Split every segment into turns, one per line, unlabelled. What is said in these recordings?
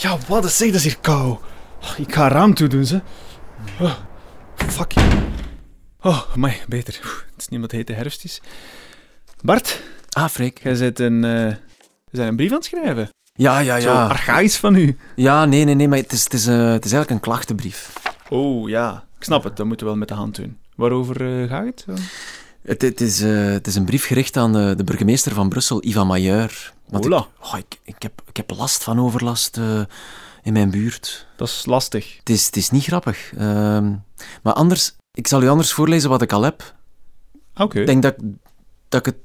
Ja, wat is zeg, dat is hier kou. Oh, ik ga een raam toedoen, ze. Oh, fuck. Oh, mij beter. Oeh, het is niet wat hete herfst is. Bart,
Ah, Freek.
jij bent een, eh, we zijn een brief aan het schrijven.
Ja, ja,
Zo ah.
ja.
archaïs van u.
Ja, nee, nee, nee, maar het is, het is, eh, het is eigenlijk een klachtenbrief.
Oh, ja. Ik snap het, dat moeten we wel met de hand doen. Waarover eh, gaat het?
Het, het, is, eh, het is een brief gericht aan de, de burgemeester van Brussel, Ivan Mailleur. Want ik,
Hola.
oh, ik, ik, heb, ik heb last van overlast eh, in mijn buurt.
Dat is lastig.
Het is, het is niet grappig. Ehm, maar anders, ik zal u anders voorlezen wat ik al heb.
Ah, Oké.
Ik denk dat, ik- dat ik het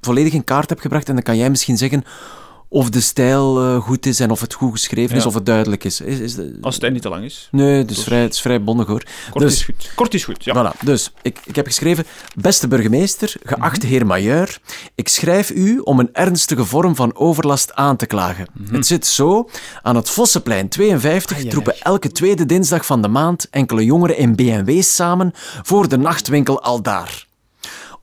volledig in kaart heb gebracht en dan kan jij misschien zeggen of de stijl eh, goed is en of het goed geschreven is
Ja.
of het duidelijk is. is, is de-
Als het eind niet te lang is.
Nee, het is
Dus-
vrij, het is vrij bondig hoor.
Kort
Dus-
is goed. Kort is goed, ja.
Voilà, dus ik, ik heb geschreven, beste burgemeester, geachte
Mhm.
heer Mailleur, ik schrijf u om een ernstige vorm van overlast aan te klagen. Het zit zo, aan het Vossenplein 52
Mhm. Ai, ai,
troepen elke tweede dinsdag van de maand enkele jongeren in BMW's samen voor de nachtwinkel Aldaar.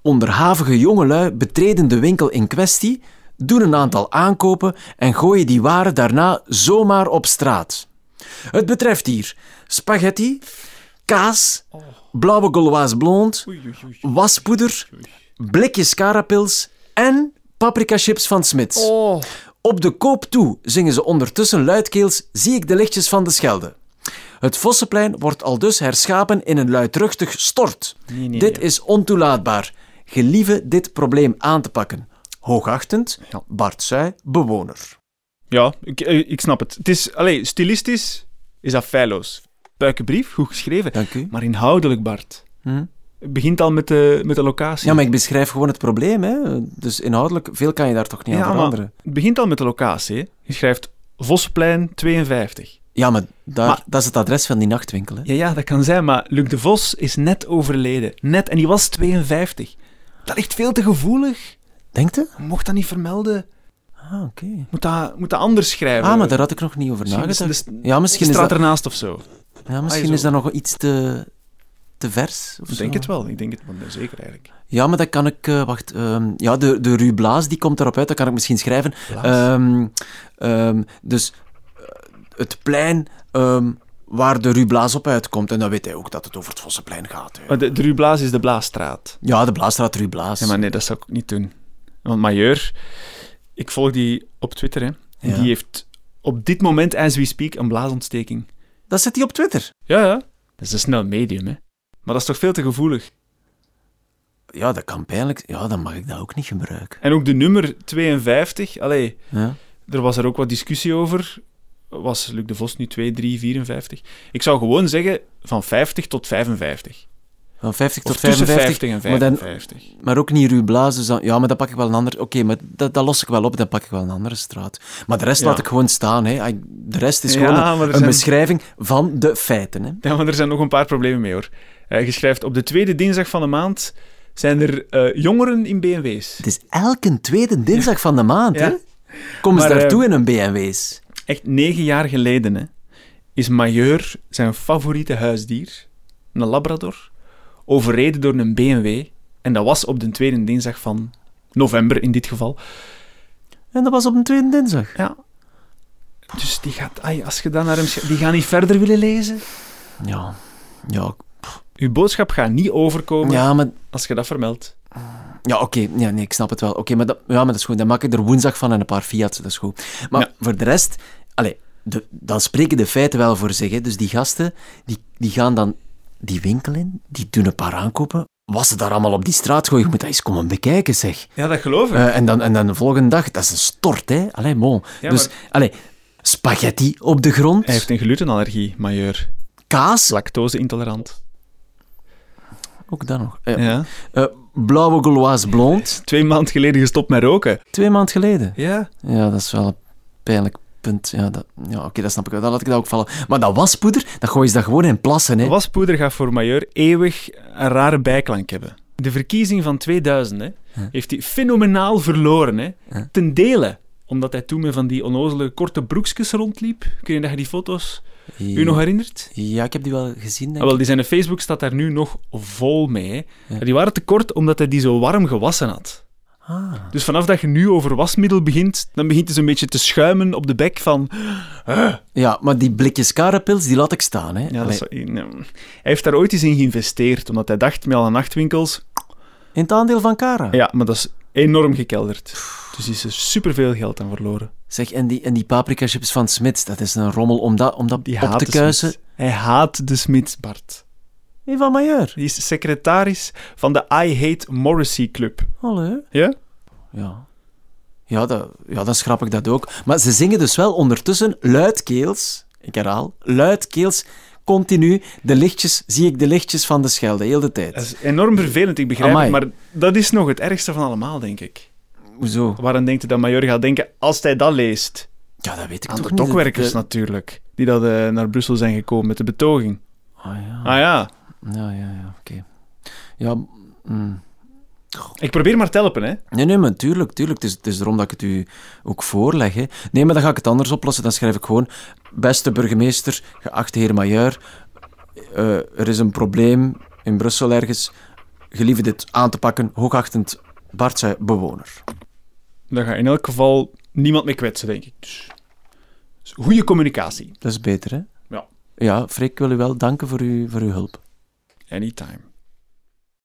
Onderhavige jongelui betreden de winkel in kwestie, doen een aantal aankopen en gooien die waren daarna zomaar op straat. Het betreft hier spaghetti, kaas, blauwe Gauloise blond,
Oh. Oei, oei, oei.
waspoeder, blikjes carapils en paprikachips van Smits.
Oh.
Op de koop toe zingen ze ondertussen luidkeels Zie ik de lichtjes van de Schelde. Het Vossenplein wordt al dus herschapen in een luidruchtig stort.
Nee, nee,
dit
nee.
is ontoelaatbaar. Gelieve dit probleem aan te pakken. Hoogachtend, Bart Suij, bewoner.
Ja, ik, eh, ik snap het. Het is, allee, stilistisch is dat feilloos. Puikenbrief, goed geschreven.
Dank u.
Maar inhoudelijk, Bart.
Hm?
Het begint al met de, met de locatie.
Ja, maar ik beschrijf gewoon het probleem. Hè? Dus inhoudelijk, veel kan je daar toch niet
Ja,
aan
maar-
veranderen.
Het begint al met de locatie. hè. Je schrijft Vosplein 52.
Ja, maar, daar,
Maar-
dat is het adres van die nachtwinkel. Hè?
Ja, ja, dat kan zijn, maar Luc de Vos is net overleden. Net, en die was 52. Dat ligt veel te gevoelig.
Denkt u?
Je Mocht dat niet vermelden.
Ah, oké.
Moet dat, moet dat anders schrijven.
Ah, maar daar had ik nog niet over
Misschien is-
nagedacht.
is-
Ja, misschien, is
staat
dat,
ernaast of zo.
ja, misschien
Ah, zo.
is dat nog iets te, te vers. Of
Ik
zo.
denk het wel. Ik denk het wel, zeker eigenlijk.
Ja, maar dat kan ik... eh, wacht. ehm, ja, de, de Rue Blaas, die komt erop uit. Dat kan ik misschien schrijven.
Blaas.
Ehm, ehm, dus eh, het plein ehm, waar de Rue Blaas op uitkomt. En dan weet hij ook dat het over het Vossenplein gaat. hè.
Maar de, de Rue Blaas is de Blaasstraat.
Ja, de Blaasstraat, Rue Blaas.
Ja, maar nee, dat zou ik ook niet doen. Want Majeur, ik volg die op Twitter, hè. En
Ja.
die heeft op dit moment, as we speak, een blaasontsteking.
Dat zit hij op Twitter.
Ja, ja. Dat is een snel medium, hè. Maar dat is toch veel te gevoelig.
Ja, dat kan pijnlijk... Ja, dan mag ik dat ook niet gebruiken.
En ook de nummer 52, allee,
Ja.
er was er ook wat discussie over. Was Luc de Vos nu 2, 3, 54? Ik zou gewoon zeggen van 50 tot 55.
Van 50
Of
tot
tussen
55.
50 en
maar dan-
55.
Maar ook niet Ruud Blaas. Dus dan, ja, maar dan pak ik wel een ander. Oké, maar dat, dat los ik wel op. Dan pak ik wel een andere straat. Maar de rest
Ja.
laat ik gewoon staan. Hè. Ik- De rest is
Ja,
gewoon
maar er
een, een
zijn-
beschrijving van de feiten. Hè.
Ja, maar er zijn nog een paar problemen mee hoor. Eh, je schrijft op de tweede dinsdag van de maand zijn er eh, jongeren in BMW's.
Het is elke tweede dinsdag van de maand.
Ja.
Hè. Komen ze
Maar, eh,
daartoe in een BMW's?
Echt negen jaar geleden hè, is Majeur zijn favoriete huisdier, een Labrador, overreden door een BMW. En dat was op de tweede dinsdag van november in dit geval.
En dat was op een tweede dinsdag.
Ja. Dus die gaat, ai, als je dan naar hem schrijft, die gaan niet verder willen lezen.
Ja, ja,
Uw boodschap gaat niet overkomen
ja maar.
als je dat vermeldt.
Ja, oké. Ja, nee, ik snap het wel. Oké, maar, dat- ja, maar dat is goed. Dan maak ik er woensdag van en een paar Fiat's. Dat is goed. Maar
Ja.
voor de rest... Allee, de, dan spreken de feiten wel voor zich. Hè. Dus die gasten, die, die gaan dan die winkel in. Die doen een paar aankopen. Wat ze daar allemaal op die straat gooien, je moet dat eens komen bekijken, zeg.
Ja, dat geloof ik.
Eh, en, dan, en dan de volgende dag, dat is een stort, hè. Allee, mon.
Ja,
dus,
maar-
allee, spaghetti op de grond.
Hij heeft een glutenallergie, Majeur.
Kaas,
Lactose-intolerant.
ook dat nog. Eh,
Ja.
eh, blauwe Gauloise blond,
twee maand geleden gestopt met roken.
twee maand geleden.
Ja.
Ja, dat is wel een pijnlijk punt. Ja, dat, ja oké, dat snap ik wel. Dan laat ik dat ook vallen. Maar dat waspoeder, dat gooi je dat gewoon in plassen, hè.
Waspoeder gaat voor Majeur eeuwig een rare bijklank hebben. De verkiezing van 2000 hè, heeft hij fenomenaal verloren. Hè. Ten dele omdat hij toen met van die onnozele korte broekjes rondliep. Kun je dat je die foto's u nog herinnert?
Ja, ik heb die wel gezien,
Ah,
denk ik.
wel, die zijn Facebook staat daar nu nog vol mee. Hè. Maar Die waren te kort omdat hij die zo warm gewassen had.
Ah,
Dus vanaf dat je nu over wasmiddel begint, dan begint het een beetje te schuimen op de bek van... "Ah,
Ja, maar die blikjes karapils, die laat ik staan. Hè.
Ja, dat
Allee,
is- nee. Hij heeft daar ooit eens in geïnvesteerd, omdat hij dacht met alle nachtwinkels...
In het aandeel van Cara.
Ja, maar dat is enorm gekelderd. Dus is er superveel geld aan verloren.
Zeg, en die, en die paprika chips van Smits, dat is een rommel om dat, om dat
Die
op
haat
te
de
kuisen.
Smit. Hij haat de Smit, Bart.
Eva Majeur.
Die is secretaris van de I Hate Morrissey Club.
Hallo.
Ja?
Ja. Ja, dat, ja, dan schrap ik dat ook. Maar ze zingen dus wel ondertussen luidkeels, ik herhaal, luidkeels, continu. De lichtjes, zie ik de lichtjes van de Schelde, heel de
Dat
tijd.
is enorm vervelend, ik begrijp het,
Amai.
maar dat is nog het ergste van allemaal, denk ik.
Hoezo?
Waarom denkt u dat Major gaat denken als hij dat leest?
Ja, dat weet ik
Aan
toch
de
niet.
dokwerkers
De-
natuurlijk, die dat, eh, naar Brussel zijn gekomen met de betoging.
Ah ja,
Ah ja,
ja, ja, ja, oké. Ja, mm.
ik probeer maar te helpen, hè.
nee, nee, maar tuurlijk, tuurlijk. Het is, het is erom dat ik het u ook voorleg. Hè. Nee, maar dan ga ik het anders oplossen. Dan schrijf ik gewoon, beste burgemeester, geachte heer Majeur, eh, er is een probleem in Brussel ergens. Gelieve dit aan te pakken, hoogachtend Bartse bewoner.
Dan ga je in elk geval niemand mee kwetsen, denk ik. Dus, dus goede communicatie.
Dat is beter, hè?
Ja.
Ja, Freek, ik wil u wel danken voor, u, voor uw hulp.
Anytime.